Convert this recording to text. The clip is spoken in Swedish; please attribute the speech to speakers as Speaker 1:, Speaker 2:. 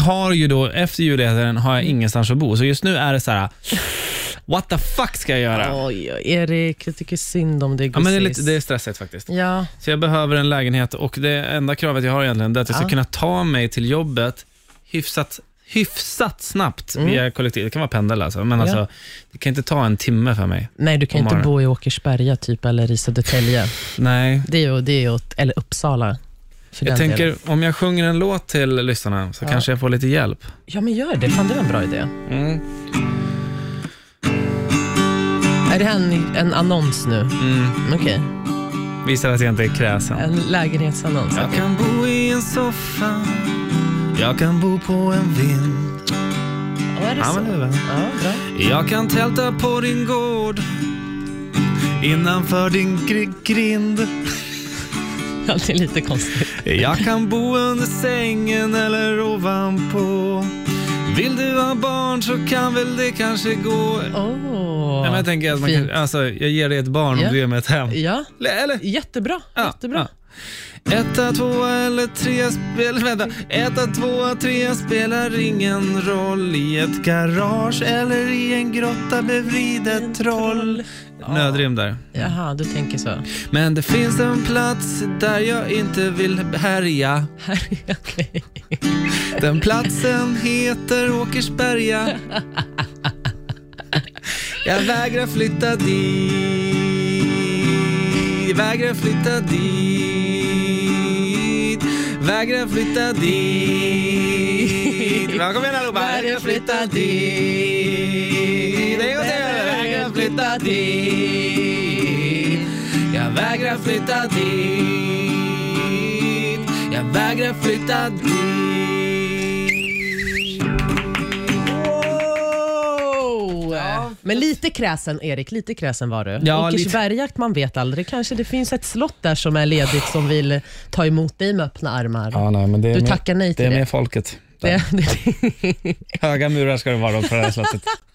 Speaker 1: har ju då, efter julrätten har jag ingenstans att bo, så just nu är det så här. what the fuck ska jag göra? Ja,
Speaker 2: Oj, oj, Erik, jag tycker synd om dig.
Speaker 1: men det, är
Speaker 2: gussis.
Speaker 1: lite, det är stressigt faktiskt.
Speaker 2: Ja,
Speaker 1: Så jag behöver en lägenhet och det enda kravet jag har egentligen det är att jag ska
Speaker 2: Ja.
Speaker 1: kunna ta mig till jobbet hyfsat, hyfsat snabbt via kollektiv. Det kan vara pendel alltså, men
Speaker 2: Mm. Ja.
Speaker 1: alltså, det kan inte ta en timme för mig.
Speaker 2: nej, du kan
Speaker 1: Om
Speaker 2: ju inte
Speaker 1: morgonen.
Speaker 2: bo i Åkersberga typ, eller i Södertälje.
Speaker 1: Nej.
Speaker 2: Det är ju, det är ju åt, eller Uppsala. För
Speaker 1: Jag
Speaker 2: den
Speaker 1: tänker,
Speaker 2: delen.
Speaker 1: om jag sjunger en låt till lyssnarna så
Speaker 2: Ja.
Speaker 1: kanske jag får lite hjälp.
Speaker 2: Ja, men gör det. Fan, det var en bra idé.
Speaker 1: Mm.
Speaker 2: Är det här en, en annons nu?
Speaker 1: Mm.
Speaker 2: Okej,
Speaker 1: Visar att jag inte är kräsen.
Speaker 2: en lägenhetsannons.
Speaker 1: Jag kan bo i en soffa, jag kan bo på en vind.
Speaker 2: Ja, är det
Speaker 1: Ja,
Speaker 2: så?
Speaker 1: men det är väl.
Speaker 2: Ja, bra.
Speaker 1: Jag kan tälta på din gård, innanför din gr- grind.
Speaker 2: Alltid lite konstigt.
Speaker 1: Jag kan bo under sängen eller ovanpå. Vill du ha barn så kan väl det kanske gå.
Speaker 2: Åh.
Speaker 1: Nej, men jag tänker att man kan,
Speaker 2: fint.
Speaker 1: alltså, jag ger dig ett barn
Speaker 2: Ja.
Speaker 1: och du ger mig ett hem.
Speaker 2: Ja,
Speaker 1: Eller- Eller?
Speaker 2: jättebra.
Speaker 1: Ja,
Speaker 2: jättebra.
Speaker 1: ja. Etta, tvåa eller tre spel... Vänta. Etta, tvåa, tre spelar ingen roll i ett garage eller i en grotta bredvid ett troll. Nödrim där.
Speaker 2: Jaha, du tänker så.
Speaker 1: Men det finns en plats där jag inte vill härja.
Speaker 2: Här är okej.
Speaker 1: Den platsen heter Åkersberga. Jag vägrar flytta dit. Vägrar flytta dit. Vägrar flytta dit. Men kom igen allihopa.
Speaker 2: Vägrar flytta dit.
Speaker 1: Det är jag Vägrar flytta dit. Jag vägrar flytta dit. Jag vägrar flytta dit.
Speaker 2: Wow! Eh, Men lite kräsen, Erik. Lite kräsen var du.
Speaker 1: Ja, lite.
Speaker 2: Åkersberga, man vet aldrig. Kanske det finns ett slott där som är ledigt som vill ta emot dig med öppna armar.
Speaker 1: Ja, nej, men det är
Speaker 2: Du
Speaker 1: med,
Speaker 2: tackar nej
Speaker 1: det.
Speaker 2: till
Speaker 1: är
Speaker 2: det.
Speaker 1: med folket.
Speaker 2: det, det.
Speaker 1: Höga murar ska det vara då på det här slottet.